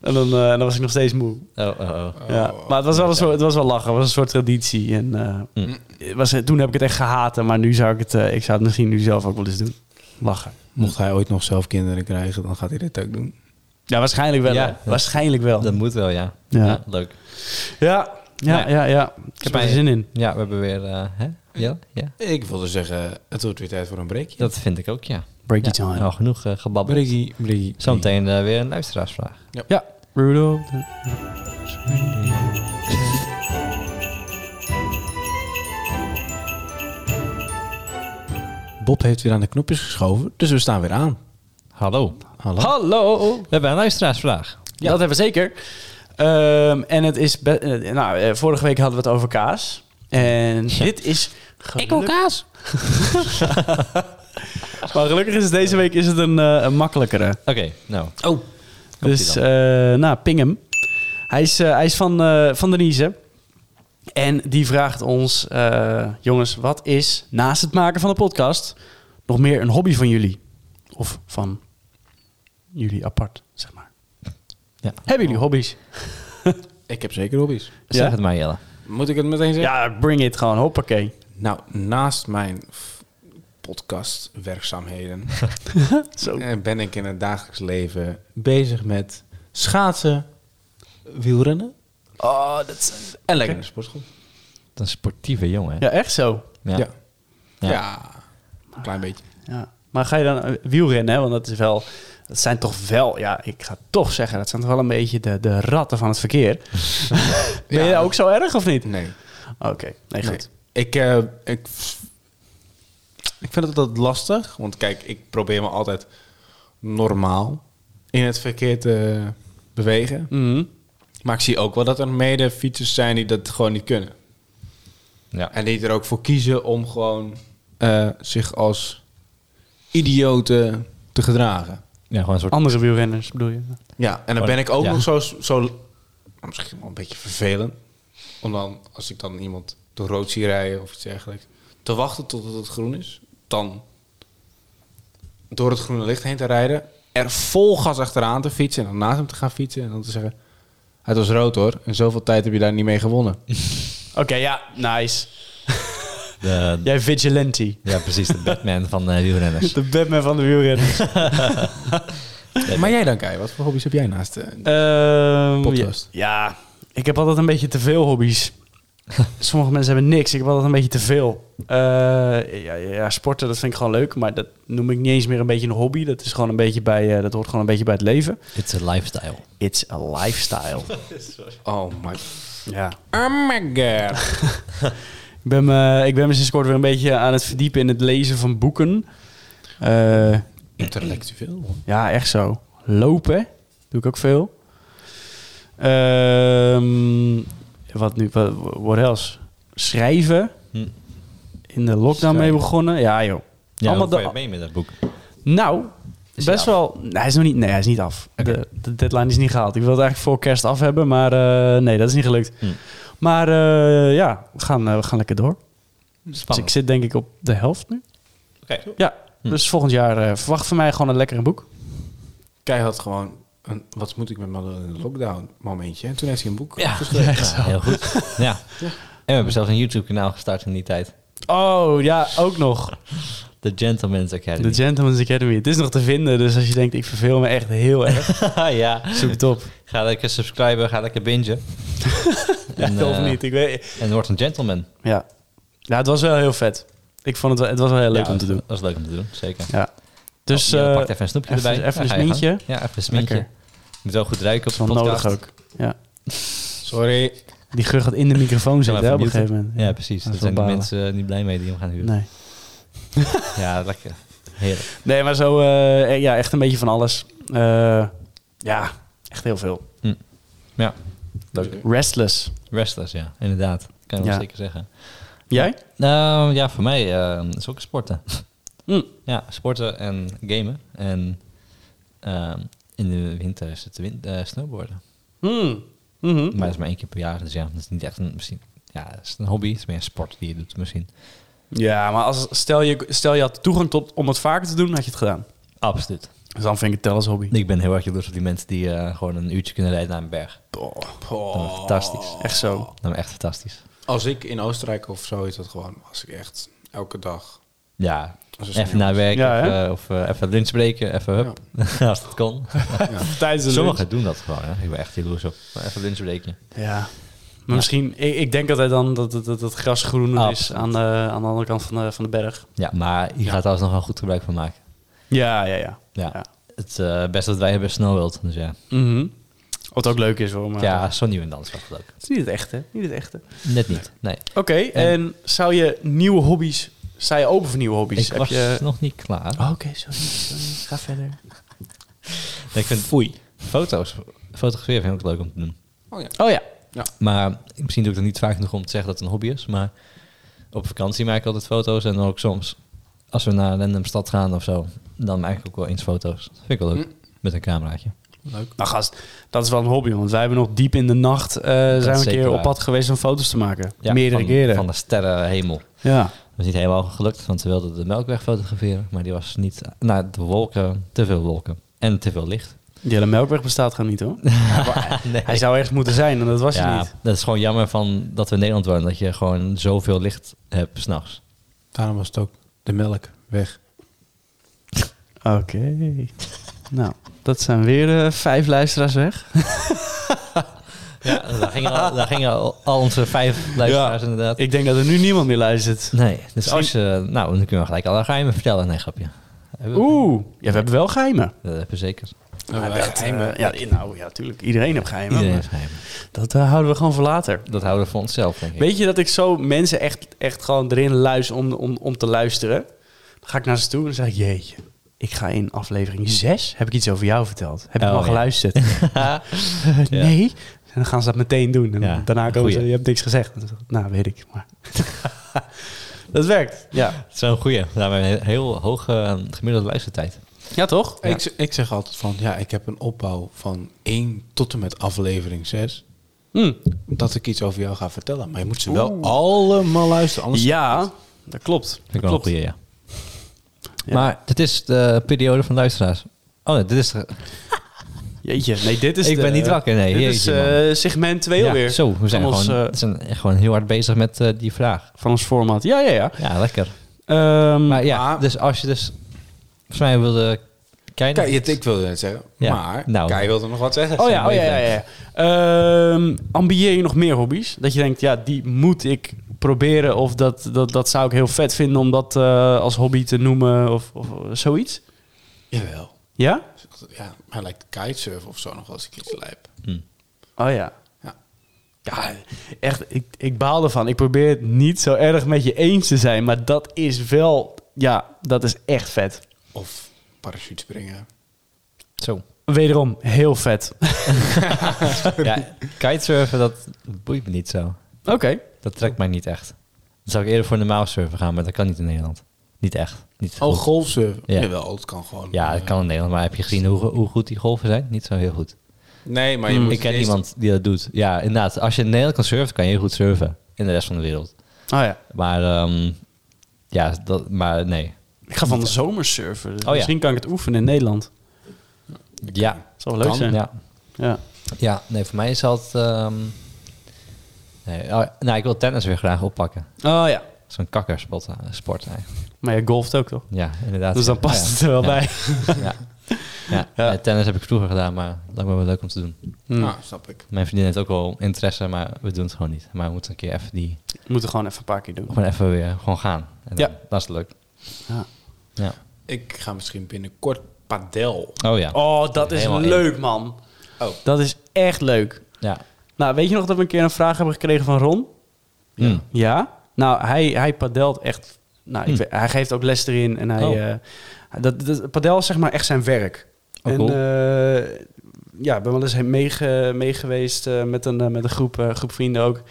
Speaker 1: En dan, eh, dan was ik nog steeds moe.
Speaker 2: [LAUGHS] Oh, oh, oh.
Speaker 1: Ja, maar het was wel een soort, het was wel lachen. Het was een soort traditie. En, eh,
Speaker 2: Mm.
Speaker 1: het was, toen heb ik het echt gehaten, maar nu zou ik het, eh, ik zou het misschien nu zelf ook wel eens doen. Lachen.
Speaker 3: Mocht hij ooit nog zelf kinderen krijgen, dan gaat hij dit ook doen.
Speaker 1: Ja, waarschijnlijk wel.
Speaker 2: Ja,
Speaker 1: hè?
Speaker 2: dat-
Speaker 1: waarschijnlijk wel.
Speaker 2: Dat moet wel, ja.
Speaker 1: Ja.
Speaker 2: Ja, leuk.
Speaker 1: Ja, ja,
Speaker 2: Nee.
Speaker 1: ja, ja. Ik heb er
Speaker 2: mij-
Speaker 1: zin in.
Speaker 2: Ja, we hebben weer... eh, hè? Ja? ja,
Speaker 3: Ik wilde zeggen, het wordt weer tijd voor een breakje.
Speaker 2: dat vind ik ook, ja.
Speaker 1: Break
Speaker 2: ja.
Speaker 1: it time.
Speaker 2: Nou, genoeg eh, gebabbeld.
Speaker 3: breakie, breakie.
Speaker 2: Zometeen eh, weer een luisteraarsvraag.
Speaker 1: Ja. Rudolph.
Speaker 3: Bob heeft weer aan de knopjes geschoven, dus we staan weer aan.
Speaker 2: Hallo.
Speaker 3: Hallo.
Speaker 1: Hallo.
Speaker 2: We hebben een luisteraarsvraag.
Speaker 1: Ja. Dat hebben we zeker. Ehm, en het is... be- eh, nou, eh, vorige week hadden we het over kaas. En dit is... Ik wil kaas. [LAUGHS] maar gelukkig is het deze week is het een, eh, een makkelijkere.
Speaker 2: Oké, nou.
Speaker 3: Oh.
Speaker 1: dus, eh, nou, ping hem. Hij is, eh, hij is van, eh van Denise. En die vraagt ons... eh, jongens, wat is naast het maken van de podcast... nog meer een hobby van jullie? Of van jullie apart, zeg maar.
Speaker 2: Ja.
Speaker 1: Hebben jullie hobby's?
Speaker 3: Ik heb zeker hobby's.
Speaker 2: Zeg
Speaker 1: Ja?
Speaker 2: het maar, Jelle.
Speaker 3: Moet ik het meteen zeggen?
Speaker 1: Ja, bring it gewoon, hoppakee.
Speaker 3: Nou, naast mijn f- podcastwerkzaamheden
Speaker 1: Zo.
Speaker 3: eh, ben ik in het dagelijks leven bezig met schaatsen, wielrennen
Speaker 1: Oh, dat is...
Speaker 3: en lekker naar de sportschool.
Speaker 2: Dat is een sportieve jongen. hè?
Speaker 1: Ja, echt zo.
Speaker 2: Ja.
Speaker 3: Ja.
Speaker 2: Ja.
Speaker 3: een klein beetje.
Speaker 1: Ja. Maar ga je dan eh, wielrennen, hè? want dat is wel... Dat zijn toch wel, ja, ik ga toch zeggen, dat zijn toch wel een beetje de, de ratten van het
Speaker 3: [LAUGHS]
Speaker 1: verkeer. ben je
Speaker 3: Ja.
Speaker 1: ook zo erg of niet?
Speaker 3: Nee.
Speaker 1: Oké, nee,
Speaker 3: Nee.
Speaker 1: goed.
Speaker 3: Ik, eh, ik, ik vind het altijd lastig. Want kijk, ik probeer me altijd normaal in het verkeer te bewegen.
Speaker 1: Mhm.
Speaker 3: Maar ik zie ook wel dat er mede fietsers zijn die dat gewoon niet kunnen.
Speaker 2: Ja.
Speaker 3: En die er ook voor kiezen om gewoon eh, zich als idioten te gedragen.
Speaker 2: Ja, gewoon een soort...
Speaker 1: Andere wielrenners bedoel je?
Speaker 3: Ja, en dan
Speaker 2: Oh,
Speaker 3: ben ik ook
Speaker 2: ja.
Speaker 3: nog zo, zo... nou, Misschien wel een beetje vervelend. Om dan, als ik dan iemand door rood zie rijden of iets dergelijks... te wachten tot het groen is. Dan door het groene licht heen te rijden. Er vol gas achteraan te fietsen. En dan naast hem te gaan fietsen. En dan te zeggen... Het was rood hoor. En zoveel tijd heb je daar niet mee gewonnen.
Speaker 1: Oké, ja, nice.
Speaker 2: De,
Speaker 1: Jij vigilante.
Speaker 2: eh, ja, precies. De [LAUGHS] Batman van eh wielrenners.
Speaker 1: De Batman van de wielrenners.
Speaker 3: maar jij dan, Kai? Wat voor hobby's heb jij naast... eh,
Speaker 1: Ehm,
Speaker 3: Podcast.
Speaker 1: Ja, ja, ik heb altijd een beetje te veel [LAUGHS] hobby's. Sommige mensen hebben niks. Ik heb altijd een beetje te veel. Eh, ja, ja, ja, sporten, dat vind ik gewoon leuk. Maar dat noem ik niet eens meer een beetje een hobby. Dat, is gewoon een beetje bij, eh, dat hoort gewoon een beetje bij het leven.
Speaker 2: It's a lifestyle.
Speaker 1: It's a lifestyle.
Speaker 3: Oh my...
Speaker 1: [LAUGHS] ja.
Speaker 3: Oh my god.
Speaker 1: Ik ben, me, ik ben me sinds kort weer een beetje aan het verdiepen in het lezen van boeken. Eh,
Speaker 3: Intellectueel.
Speaker 1: Ja, echt zo. Lopen doe ik ook veel. Ehm, wat nu? Wat what else? Schrijven.
Speaker 2: Hm.
Speaker 1: In de lockdown mee
Speaker 2: Schrijven.
Speaker 1: begonnen. Ja, joh.
Speaker 2: Ja,
Speaker 1: Allemaal
Speaker 2: Allemaal hoe
Speaker 1: de-
Speaker 2: ga je mee met dat boek?
Speaker 1: Nou,
Speaker 2: Is hij
Speaker 1: best
Speaker 2: af?
Speaker 1: wel. Nee, hij is nog niet. Nee, hij is niet af.
Speaker 2: Oké.
Speaker 1: De, de deadline is niet gehaald. Ik wil het eigenlijk voor kerst af hebben, maar eh, nee, dat is niet gelukt.
Speaker 2: Hm.
Speaker 1: Maar eh, ja, we gaan, eh, we gaan lekker door. Dus ik
Speaker 2: Spannend.
Speaker 1: zit denk ik op de helft nu.
Speaker 2: Oké.
Speaker 1: Ja,
Speaker 2: Hm.
Speaker 1: dus volgend jaar eh, verwacht van mij gewoon een lekkere boek.
Speaker 3: Kei had gewoon een wat moet ik met mijn lockdown momentje. En toen heeft hij een boek
Speaker 2: Ja,
Speaker 3: geschreven.
Speaker 2: ja, heel [LAUGHS] goed. Ja. En we hebben zelfs een YouTube-kanaal gestart in die tijd.
Speaker 1: Oh ja, ook nog.
Speaker 2: Dus The Gentleman's Academy.
Speaker 1: De Gentleman's Academy. Het is nog te vinden, dus als je denkt, ik verveel me echt heel
Speaker 2: [LAUGHS]
Speaker 1: erg,
Speaker 2: Ah, ja.
Speaker 1: zoek het op.
Speaker 2: Ga lekker subscriben, ga lekker [LAUGHS] bingen.
Speaker 1: Echt [LAUGHS]
Speaker 2: eh,
Speaker 1: of niet, ik weet...
Speaker 2: En word een gentleman.
Speaker 1: Ja. ja, het was wel heel vet. Ik vond het wel, het was wel heel leuk
Speaker 2: Ja,
Speaker 1: om te doen.
Speaker 2: Dat is leuk om te doen, zeker.
Speaker 1: Ja. Dus
Speaker 2: Oh, ja,
Speaker 1: eh,
Speaker 2: pak even een snoepje
Speaker 1: even-
Speaker 2: erbij.
Speaker 1: even
Speaker 2: Ja,
Speaker 1: een
Speaker 2: ga je gang.
Speaker 1: smintje.
Speaker 2: Ja, even een smintje.
Speaker 1: lekker.
Speaker 2: Je moet wel goed ruiken
Speaker 1: Dat is
Speaker 2: op de
Speaker 1: wel
Speaker 2: podcast.
Speaker 1: nodig ook. Ja.
Speaker 3: Sorry.
Speaker 1: Die geur gaat in de microfoon
Speaker 2: zal
Speaker 1: zitten
Speaker 2: even
Speaker 1: hè, op een
Speaker 2: muten.
Speaker 1: gegeven moment.
Speaker 2: Ja, precies.
Speaker 1: Dat
Speaker 2: Daar
Speaker 1: is
Speaker 2: zijn die
Speaker 1: wel balen.
Speaker 2: mensen eh, niet blij mee die hem gaan huren.
Speaker 1: Nee.
Speaker 2: Ja, lekker. Heerlijk.
Speaker 1: Nee, maar zo, eh, eh, ja, echt een beetje van alles. Eh, ja, echt heel veel.
Speaker 2: Hm. Ja,
Speaker 3: Leuk.
Speaker 1: Restless.
Speaker 2: wrestlers, ja. Inderdaad. Kan je wel
Speaker 1: Ja.
Speaker 2: zeker zeggen.
Speaker 1: Jij?
Speaker 2: Nou, ja, voor mij eh, is ook sporten.
Speaker 1: Hm.
Speaker 2: [LAUGHS] ja, sporten en gamen. En ehm, in de winter is het win- eh, snowboarden.
Speaker 1: Hmm. Mhm.
Speaker 2: Maar dat is maar één keer per jaar. Dus ja, dat is niet echt een, misschien, ja, het is een hobby. Het is meer een sport die je doet misschien.
Speaker 1: Ja, maar als, stel, je, stel je had toegang tot om het vaker te doen, had je het gedaan.
Speaker 2: Absoluut.
Speaker 1: Dus dan vind ik het tel als hobby.
Speaker 2: Ik ben heel erg jaloers op die mensen die eh, gewoon een uurtje kunnen rijden naar een berg.
Speaker 3: Oh.
Speaker 2: Fantastisch.
Speaker 1: Echt zo.
Speaker 2: Dat is echt fantastisch.
Speaker 3: Als ik in Oostenrijk of zo is dat gewoon, als ik echt elke dag.
Speaker 2: Ja,
Speaker 3: Als een
Speaker 2: even naar werk
Speaker 1: Ja,
Speaker 2: of,
Speaker 1: hè?
Speaker 2: eh, of eh, even lunch breken, even hup, [LAUGHS] als het
Speaker 1: [LAUGHS]
Speaker 2: kon.
Speaker 1: Tijdens de lunch.
Speaker 2: Sommigen doen dat gewoon, hè. ik ben echt jaloers op. Maar Even lunch breken.
Speaker 1: Ja. Maar misschien, ik, ik denk altijd dan dat het dat, het gras groener is
Speaker 2: Absoluut.
Speaker 1: aan de, aan de andere kant van de, van de berg.
Speaker 2: Ja, maar je gaat daar nog wel goed gebruik van maken.
Speaker 1: Ja, ja, ja.
Speaker 2: Ja.
Speaker 1: Ja.
Speaker 2: Het eh, beste dat wij hebben is Snow World, dus ja.
Speaker 1: Mhm. Wat ook leuk is hoor. Maar
Speaker 2: Ja, Sonny en dans was dat ook.
Speaker 1: Het is niet het echte. Niet het echte.
Speaker 2: Net niet, nee.
Speaker 1: Oké, en zou je nieuwe hobby's... Sta je open voor nieuwe hobby's?
Speaker 2: Ik was
Speaker 1: je...
Speaker 2: nog niet klaar.
Speaker 1: Oh, Oké, sorry, sorry. Ga verder.
Speaker 2: Ik vind foto's, fotograferen vind ik ook leuk om te doen.
Speaker 3: Oh ja.
Speaker 1: Oh ja.
Speaker 2: Maar misschien doe ik dat niet vaak genoeg om te zeggen dat het een hobby is. Maar op vakantie maak ik altijd foto's. En ook soms, als we naar een random stad gaan of zo, dan maak ik ook wel eens foto's. Dat vind ik wel leuk. Met een cameraatje.
Speaker 3: Leuk.
Speaker 1: Nou gast, dat is wel een hobby. Want wij hebben nog diep in de nacht... eh, zijn we
Speaker 2: is
Speaker 1: een
Speaker 2: zeker
Speaker 1: keer
Speaker 2: waar.
Speaker 1: op pad geweest om foto's te maken.
Speaker 2: Ja,
Speaker 1: Meerdere
Speaker 2: van,
Speaker 1: keren.
Speaker 2: Van de sterrenhemel.
Speaker 1: Ja.
Speaker 2: Dat is niet helemaal gelukt, want ze wilden de Melkweg fotograferen. Maar die was niet... Nou, de wolken, te veel wolken. En te veel licht.
Speaker 1: Die hele Melkweg bestaat gewoon niet
Speaker 2: [LAUGHS]
Speaker 1: hoor.
Speaker 2: eh, nee.
Speaker 1: Hij zou ergens moeten zijn en dat was hij
Speaker 2: ja,
Speaker 1: niet.
Speaker 2: dat is gewoon jammer van dat we in Nederland wonen. Dat je gewoon zoveel licht hebt s'nachts.
Speaker 3: Daarom was het ook de melk weg.
Speaker 1: Oké. nou, dat zijn weer eh, vijf luisteraars weg.
Speaker 2: Ja, daar gingen al, daar gingen al, al onze vijf luisteraars inderdaad.
Speaker 1: Ik denk dat er nu niemand meer luistert.
Speaker 2: Nee, dus als je... Nou, dan kunnen we gelijk alle geheimen vertellen. Nee, grapje. Hebben we-
Speaker 1: Oeh, ja, we hebben wel geheimen.
Speaker 2: Dat hebben we zeker.
Speaker 1: Eh, ja, i- nou ja, tuurlijk. Iedereen heeft geheimen.
Speaker 2: Iedereen
Speaker 1: maar
Speaker 2: heeft geheimen.
Speaker 1: Dat eh, houden we gewoon voor later.
Speaker 2: Dat houden we voor onszelf, denk ik.
Speaker 1: Weet je dat ik zo mensen echt, echt gewoon erin luister om, om, om te luisteren? Dan ga ik naar ze toe en dan zeg ik, jeetje, ik ga in aflevering 6, heb ik iets over jou verteld? Heb ik
Speaker 2: Oh,
Speaker 1: al
Speaker 2: ja. [LAUGHS]
Speaker 1: geluisterd? Eh, Nee. En dan gaan ze dat meteen doen. En
Speaker 2: Ja,
Speaker 1: daarna komen ze,
Speaker 2: goeie.
Speaker 1: je hebt niks gezegd. En dan zeg ik, nou, weet ik. Maar [LAUGHS] dat werkt. Ja.
Speaker 2: Dat is wel een goeie. We hebben een heel hoge eh, gemiddelde luistertijd.
Speaker 1: ja, toch?
Speaker 3: Ik, z- ik zeg altijd van, ja, ik heb een opbouw van 1 tot en met aflevering 6.
Speaker 1: Hm.
Speaker 3: Dat ik iets over jou ga vertellen. Maar je moet ze wel allemaal luisteren. Anders
Speaker 1: Ja, dat klopt.
Speaker 2: Vind ik wel
Speaker 1: dat
Speaker 2: een
Speaker 1: klopt.
Speaker 2: goeie, ja.
Speaker 1: Ja.
Speaker 2: Maar dit is de periode van luisteraars. Oh, nee, dit is... de-
Speaker 1: Jeetje, nee, dit is
Speaker 2: Ik
Speaker 1: de-
Speaker 2: ben niet wakker, nee,
Speaker 1: Dit
Speaker 2: jeetje,
Speaker 1: is eh, segment 2
Speaker 2: ja,
Speaker 1: alweer.
Speaker 2: Zo, we zijn,
Speaker 1: van
Speaker 2: gewoon,
Speaker 1: Ons, eh,
Speaker 2: zijn echt gewoon heel hard bezig met eh, die vraag.
Speaker 1: van ons format. Ja, ja, ja.
Speaker 2: Ja, lekker.
Speaker 1: Ehm,
Speaker 2: Maar ja,
Speaker 3: Maar-
Speaker 2: dus als je dus... Volgens mij wilde... Kijk,
Speaker 3: Kijk, je- ik wilde net zeggen,
Speaker 2: Ja,
Speaker 3: maar
Speaker 2: nou.
Speaker 3: Kai wilde nog wat zeggen.
Speaker 1: oh ja, oh ja, ja. ja. Ehm, ambieer je nog meer hobby's? Dat je denkt, ja, die moet ik proberen. Of dat, dat, dat zou ik heel vet vinden om dat eh, als hobby te noemen. Of, of zoiets.
Speaker 3: Jawel.
Speaker 1: Ja?
Speaker 3: Ja, hij lijkt kitesurfen of zo nog wel eens een keertje lijp.
Speaker 2: Hm.
Speaker 1: Oh ja.
Speaker 3: Ja.
Speaker 1: Ja, echt, ik, ik baal ervan. Ik probeer het niet zo erg met je eens te zijn. Maar dat is wel, ja, dat is echt vet.
Speaker 3: Of parachute springen.
Speaker 2: Zo.
Speaker 1: Wederom, heel vet.
Speaker 2: Ja, kitesurfen, dat boeit me niet zo.
Speaker 1: [LAUGHS] Oké.
Speaker 2: Dat trekt mij niet echt. Dan zou ik eerder voor normaal surfen gaan, maar dat kan niet in Nederland. Niet echt. Niet
Speaker 3: Oh,
Speaker 2: goed.
Speaker 3: golfsurfen.
Speaker 2: Ja.
Speaker 3: Jawel, het kan gewoon.
Speaker 2: Ja, dat kan in Nederland, maar heb je gezien hoe, hoe goed die golven zijn? Niet zo heel goed.
Speaker 3: Nee, maar je moet
Speaker 2: Hmm. Ik ken
Speaker 3: eerst-
Speaker 2: iemand die dat doet. Ja, inderdaad. Als je in Nederland kan surfen, kan je heel goed surfen. In de rest van de wereld.
Speaker 1: Oh ja.
Speaker 2: Maar, ehm, ja, dat, maar nee.
Speaker 1: Ik ga van de zomer surfen. Dus
Speaker 2: Oh ja.
Speaker 1: Misschien kan ik het oefenen in Nederland.
Speaker 2: Ja,
Speaker 1: Dat zou wel leuk
Speaker 3: Kan,
Speaker 1: zijn.
Speaker 2: ja.
Speaker 1: Ja.
Speaker 2: Ja, nee, voor mij is dat... ehm, nee, oh, nou, ik wil tennis weer graag oppakken.
Speaker 1: Oh ja.
Speaker 2: Zo'n kakkersport eh, sport eigenlijk.
Speaker 1: Maar je golft ook, toch?
Speaker 2: Ja, inderdaad.
Speaker 1: Dus dan
Speaker 2: Ja,
Speaker 1: past
Speaker 2: ja.
Speaker 1: het er wel
Speaker 2: Ja.
Speaker 1: bij.
Speaker 2: Ja. Ja.
Speaker 1: [LAUGHS] Ja.
Speaker 2: eh, tennis heb ik vroeger gedaan, maar dat lijkt me wel leuk om te doen.
Speaker 1: Hm.
Speaker 2: Hmm.
Speaker 3: Nou, snap ik.
Speaker 2: Mijn vriendin heeft ook wel interesse, maar we doen het gewoon niet. Maar we moeten een keer even die,
Speaker 1: We moeten gewoon even een paar keer doen.
Speaker 2: gewoon even weer gewoon gaan. En dan,
Speaker 1: Ja.
Speaker 2: Dat is leuk.
Speaker 1: Ja.
Speaker 2: Ja.
Speaker 3: Ik ga misschien binnenkort padel.
Speaker 2: Oh ja.
Speaker 1: Oh, dat is
Speaker 2: Helemaal
Speaker 1: leuk, man.
Speaker 3: Oh.
Speaker 1: Dat is echt leuk.
Speaker 2: Ja.
Speaker 1: Nou, weet je nog dat we een keer een vraag hebben gekregen van Ron?
Speaker 2: Mm.
Speaker 1: Ja. Nou, hij, hij padelt echt... Nou, ik
Speaker 2: Hm.
Speaker 1: weet- hij geeft ook les erin. En hij,
Speaker 2: Oh.
Speaker 1: eh, dat, dat, padel is zeg maar echt zijn werk.
Speaker 2: Oh,
Speaker 1: en
Speaker 2: cool.
Speaker 1: eh, ja, ik ben wel eens heen- meege- mee geweest eh, met een, eh, met een groep, eh, groep vrienden ook.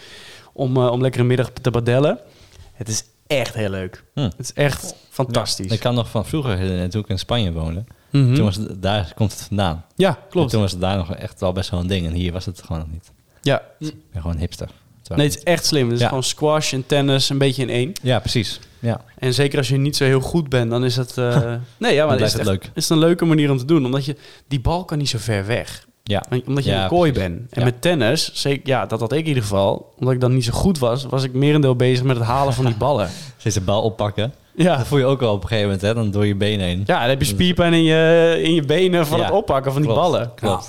Speaker 1: Om, eh, om lekker een middag te padellen. Het is echt heel leuk.
Speaker 2: Hm.
Speaker 1: Het is echt fantastisch.
Speaker 2: Ik kan nog van vroeger herinneren, toen ik in Spanje woonde.
Speaker 1: Mhm.
Speaker 2: Toen was het, daar komt het vandaan.
Speaker 1: ja,
Speaker 2: En
Speaker 1: klopt.
Speaker 2: toen was het daar nog echt wel best wel een ding. En hier was het gewoon nog niet.
Speaker 1: Ja.
Speaker 2: Ik ben gewoon hipster. Terwijl-
Speaker 1: Nee, het is echt slim. Het is
Speaker 2: Ja.
Speaker 1: gewoon squash en tennis een beetje in één.
Speaker 2: Ja, precies. Ja.
Speaker 1: En zeker als je niet zo heel goed bent, dan is dat... eh,
Speaker 2: [LAUGHS]
Speaker 1: nee, ja, maar is
Speaker 2: blijft het
Speaker 1: het, echt-
Speaker 2: leuk.
Speaker 1: is het een leuke manier om te doen. Omdat je... Die bal kan niet zo ver weg.
Speaker 2: Ja.
Speaker 1: Omdat je
Speaker 2: Ja,
Speaker 1: in een kooi
Speaker 2: precies.
Speaker 1: bent. En
Speaker 2: Ja.
Speaker 1: met tennis, zeker, ja, dat had ik in ieder geval. Omdat ik dan niet zo goed was, was ik merendeel bezig met het halen van die
Speaker 2: [LAUGHS]
Speaker 1: ballen.
Speaker 2: Steeds de bal oppakken.
Speaker 1: Ja.
Speaker 2: Dat voel je ook al op een gegeven moment, hè? Dan door je benen heen.
Speaker 1: Ja, dan heb je spierpijn in je, in je benen van
Speaker 2: Ja.
Speaker 1: het oppakken van die
Speaker 2: Klopt.
Speaker 1: ballen.
Speaker 2: Klopt.
Speaker 3: Ah.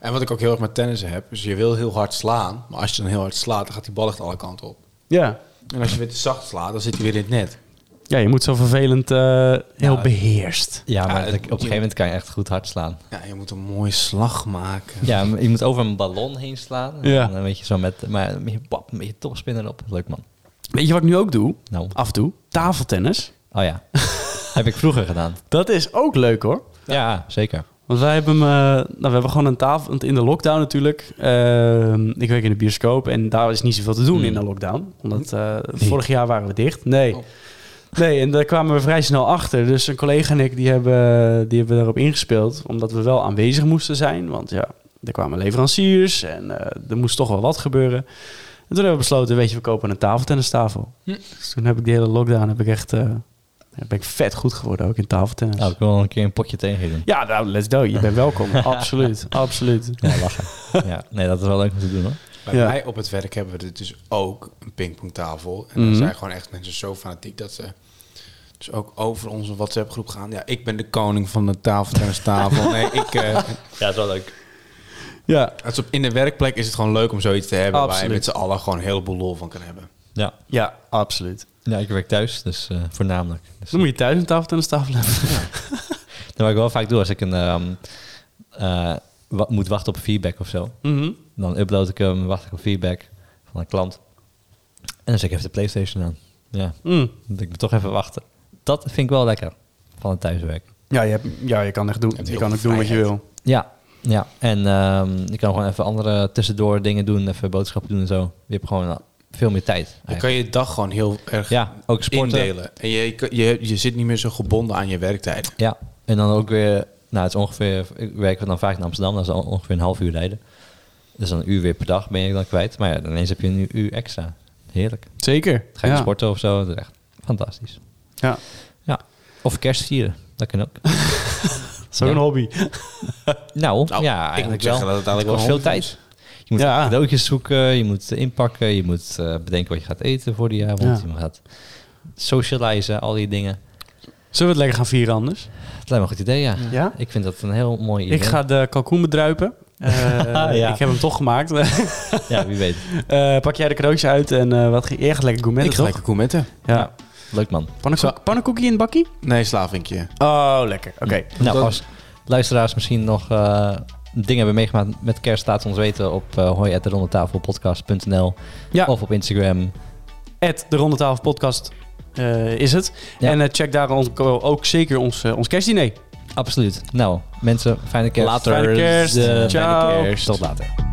Speaker 3: En wat ik ook heel erg met tennis heb, is je wil heel hard slaan. Maar als je dan heel hard slaat, dan gaat die bal echt alle kanten op.
Speaker 1: Ja.
Speaker 3: En als je weer te zacht slaat, dan zit hij weer in het net.
Speaker 1: Ja, je moet zo vervelend eh, heel beheerst.
Speaker 2: Ja, maar
Speaker 3: Ja,
Speaker 2: dat-
Speaker 3: het-
Speaker 2: op een gegeven moment kan je echt goed hard slaan.
Speaker 3: Ja, je moet een mooie slag maken.
Speaker 2: Ja, maar je moet over een ballon heen slaan. En
Speaker 1: Ja.
Speaker 2: dan weet je zo met, maar een beetje pap, een beetje topspin erop. Leuk man.
Speaker 1: Weet je wat ik nu ook doe?
Speaker 2: Nou,
Speaker 1: Af en toe. Tafeltennis.
Speaker 2: oh [LAUGHS] ja. Heb ik vroeger gedaan.
Speaker 1: Dat is ook leuk hoor.
Speaker 2: Ja, zeker.
Speaker 1: Want wij hebben, hem, eh, nou, we hebben gewoon een tafel, want in de lockdown natuurlijk. eh, ik werk in de bioscoop en daar is niet zoveel te doen
Speaker 2: Hmm.
Speaker 1: in de lockdown. Omdat eh, vorig jaar waren we dicht. Nee.
Speaker 3: Oh.
Speaker 1: Nee, en daar kwamen we vrij snel achter. Dus een collega en ik die hebben, die hebben daarop ingespeeld. Omdat we wel aanwezig moesten zijn. Want ja, er kwamen leveranciers en eh, er moest toch wel wat gebeuren. En toen hebben we besloten, weet je, we kopen een tafeltennistafel.
Speaker 3: Hm.
Speaker 1: Dus toen heb ik die hele lockdown, heb ik echt, eh, ben ik vet goed geworden ook in tafeltennis.
Speaker 2: Nou, ik wil wel een keer een potje tegen doen.
Speaker 1: Ja, nou, let's go. Je bent welkom. [LAUGHS] absoluut, absoluut.
Speaker 2: Ja, [LAUGHS] lachen. ja, nee, dat is wel leuk om te doen hoor.
Speaker 3: Bij
Speaker 1: Ja.
Speaker 3: mij op het werk hebben we dit dus ook, een pingpongtafel.
Speaker 2: Hmm.
Speaker 3: En dan
Speaker 1: Mhm.
Speaker 3: zijn gewoon echt mensen zo fanatiek dat ze dus ook over onze WhatsApp-groep gaan. Ja, ik ben de koning van de tafeltennistafel. nee, ik... eh,
Speaker 2: Ja, dat is wel leuk.
Speaker 1: Ja,
Speaker 3: het is op, in de werkplek is het gewoon leuk om zoiets te hebben... waar
Speaker 1: Absoluut.
Speaker 3: je met z'n allen gewoon een heleboel lol van kan hebben.
Speaker 2: Ja,
Speaker 1: ja, absoluut.
Speaker 2: ja ik werk thuis, dus eh, voornamelijk. Dus,
Speaker 1: Dan moet je thuis een tafeltennistafel hebben.
Speaker 2: Nou, wat ik wel vaak doe als ik een, ehm, eh, wa- moet wachten op feedback of zo.
Speaker 1: Mhm.
Speaker 2: Dan upload ik hem, wacht ik op feedback van een klant. En dan zet ik even de Playstation aan. Ja,
Speaker 1: Mm.
Speaker 2: want ik moet toch even wachten. Dat vind ik wel lekker van het thuiswerk.
Speaker 1: ja, je hebt, ja, je kan echt doen.
Speaker 3: Je hebt
Speaker 1: Je
Speaker 3: heel
Speaker 1: kan ook
Speaker 3: veel
Speaker 1: doen wat je
Speaker 3: vrijheid.
Speaker 1: wil.
Speaker 2: Ja, ja. En ehm, je kan gewoon even andere tussendoor dingen doen, even boodschappen doen en zo. Je hebt gewoon eh, veel meer tijd.
Speaker 3: Je
Speaker 2: eigenlijk.
Speaker 3: kan je dag gewoon heel erg
Speaker 2: Ja, ook sporten.
Speaker 3: indelen. En je, je, je zit niet meer zo gebonden aan je werktijd.
Speaker 2: Ja, en dan ook weer, nou het is ongeveer, ik werk dan vaak in Amsterdam, dat is al ongeveer een half uur rijden. Dus dan een uur weer per dag ben je dan kwijt. Maar ja, dan ineens heb je een uur extra. Heerlijk.
Speaker 1: Zeker.
Speaker 2: Dan ga je
Speaker 1: ja.
Speaker 2: sporten of zo, dat is echt fantastisch.
Speaker 1: Ja,
Speaker 2: Ja, of kerst vieren, dat
Speaker 3: [LAUGHS]
Speaker 2: kan ook.
Speaker 1: zo'n
Speaker 2: Ja.
Speaker 1: hobby.
Speaker 2: nou,
Speaker 3: Nou,
Speaker 2: ja,
Speaker 3: ik
Speaker 2: eigenlijk
Speaker 3: moet
Speaker 2: wel.
Speaker 3: zeggen dat het eigenlijk
Speaker 2: kost
Speaker 3: wel
Speaker 2: veel
Speaker 3: handig
Speaker 2: tijd. Je moet
Speaker 1: Ja.
Speaker 2: cadeautjes zoeken, je moet inpakken, je moet eh, bedenken wat je gaat eten voor die avond.
Speaker 1: Ja.
Speaker 2: Je gaat socializen, al die dingen.
Speaker 1: Zullen we het lekker gaan vieren anders?
Speaker 2: Het lijkt me een goed idee, ja.
Speaker 1: Ja?
Speaker 2: Ik vind dat een heel mooi idee.
Speaker 1: Ik ga de kalkoen bedruipen. [LAUGHS] Eh,
Speaker 2: Ja.
Speaker 1: Ik heb hem toch gemaakt.
Speaker 2: [LAUGHS]
Speaker 1: [LAUGHS]
Speaker 2: Ja, wie weet.
Speaker 1: Eh, pak jij de cadeautjes uit en eh, wat ga jij gaat lekker gourmetten,
Speaker 3: Ik
Speaker 1: toch?
Speaker 3: ga lekker gourmetten.
Speaker 1: Ja.
Speaker 2: Leuk man.
Speaker 1: Pannenkoek, pannenkoekie in het bakkie?
Speaker 3: Nee, slavinkje.
Speaker 1: Oh, lekker. Oké.
Speaker 2: Nou,
Speaker 3: Dan-
Speaker 2: als luisteraars misschien nog eh, dingen hebben meegemaakt met kerst, laat het ons weten op uh, hoi.rondetafelpodcast.nl
Speaker 1: Ja.
Speaker 2: of op Instagram.
Speaker 1: At de Ronde Tafel Podcast eh, is het.
Speaker 2: Ja.
Speaker 1: En eh, check daar ons- ook zeker ons, eh, ons kerstdiner.
Speaker 2: Absoluut. Nou, mensen, fijne kerst.
Speaker 1: Later. Fijne kerst.
Speaker 2: Eh,
Speaker 1: Ciao.
Speaker 2: Tot later.